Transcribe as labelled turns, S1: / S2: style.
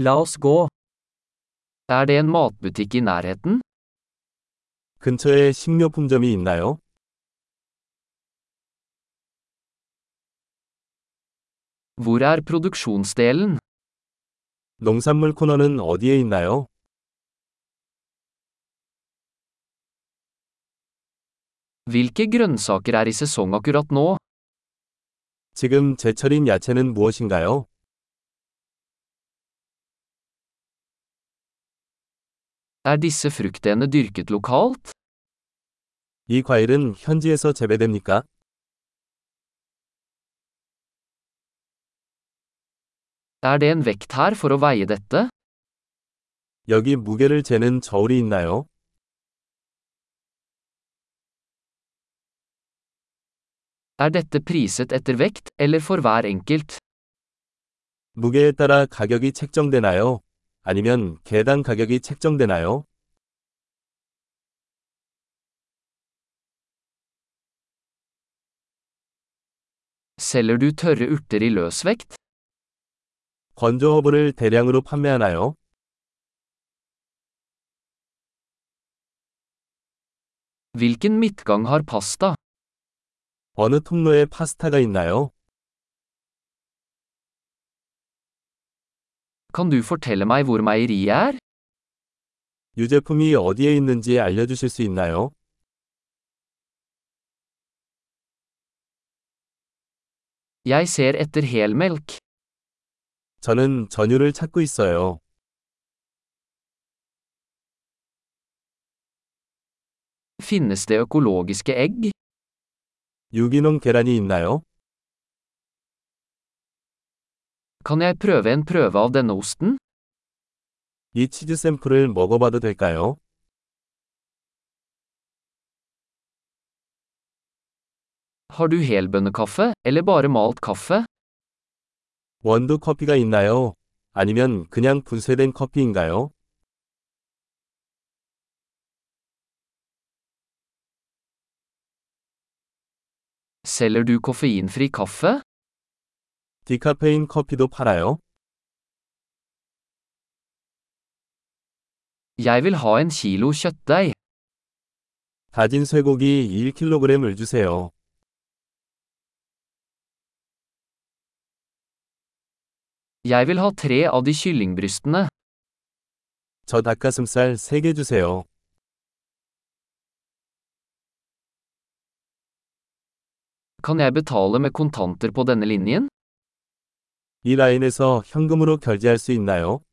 S1: La oss gå. Er det en matbutikk i nærheten?
S2: 근처에 식료품점이 있나요?
S1: Hvor er produksjonsdelen?
S2: 농산물 코너는 어디에 있나요?
S1: Hvilke grønnsaker er i sesong akkurat nå?
S2: 지금 제철인 야채는 무엇인가요?
S1: Er disse fruktene dyrket lokalt?
S2: 이 과일은 현지에서 재배됩니까?
S1: Er det en vekt her for å veie dette?
S2: 여기 무게를 재는 저울이 있나요?
S1: Er dette priset etter vekt, eller for hver enkelt?
S2: 무게에 따라 가격이 책정되나요? 아니면 개당 가격이 책정되나요?
S1: Selger du tørre urter i løsvekt?
S2: 건조 허브를 대량으로 판매하나요?
S1: Hvilken midtgang har pasta?
S2: 어느 통로에 파스타가 있나요?
S1: Kan du fortelle meg hvor meieriet er?
S2: 유제품이 어디에 있는지 알려주실 수 있나요?
S1: Jeg ser etter helmelk.
S2: 저는 전유를 찾고 있어요.
S1: Finnes det økologiske egg?
S2: 유기농 계란이 있나요?
S1: Kan jeg prøve en prøve av denne osten?
S2: 이 치즈 샘플을 먹어봐도 될까요?
S1: Har du helbønnekaffe, eller bare malt kaffe?
S2: 원두 커피가 있나요? 아니면 그냥 분쇄된 커피인가요?
S1: Selger du koffeinfri kaffe?
S2: 디카페인 커피도 팔아요?
S1: Jeg vil ha en kilo kjøttdeig.
S2: 다진 쇠고기 1kg을 주세요.
S1: Jeg vil ha tre av de kyllingbrystene.
S2: 저 닭가슴살 3개 주세요.
S1: Kan jeg betale med kontanter på denne linjen?
S2: 이 라인에서 현금으로 결제할 수 있나요?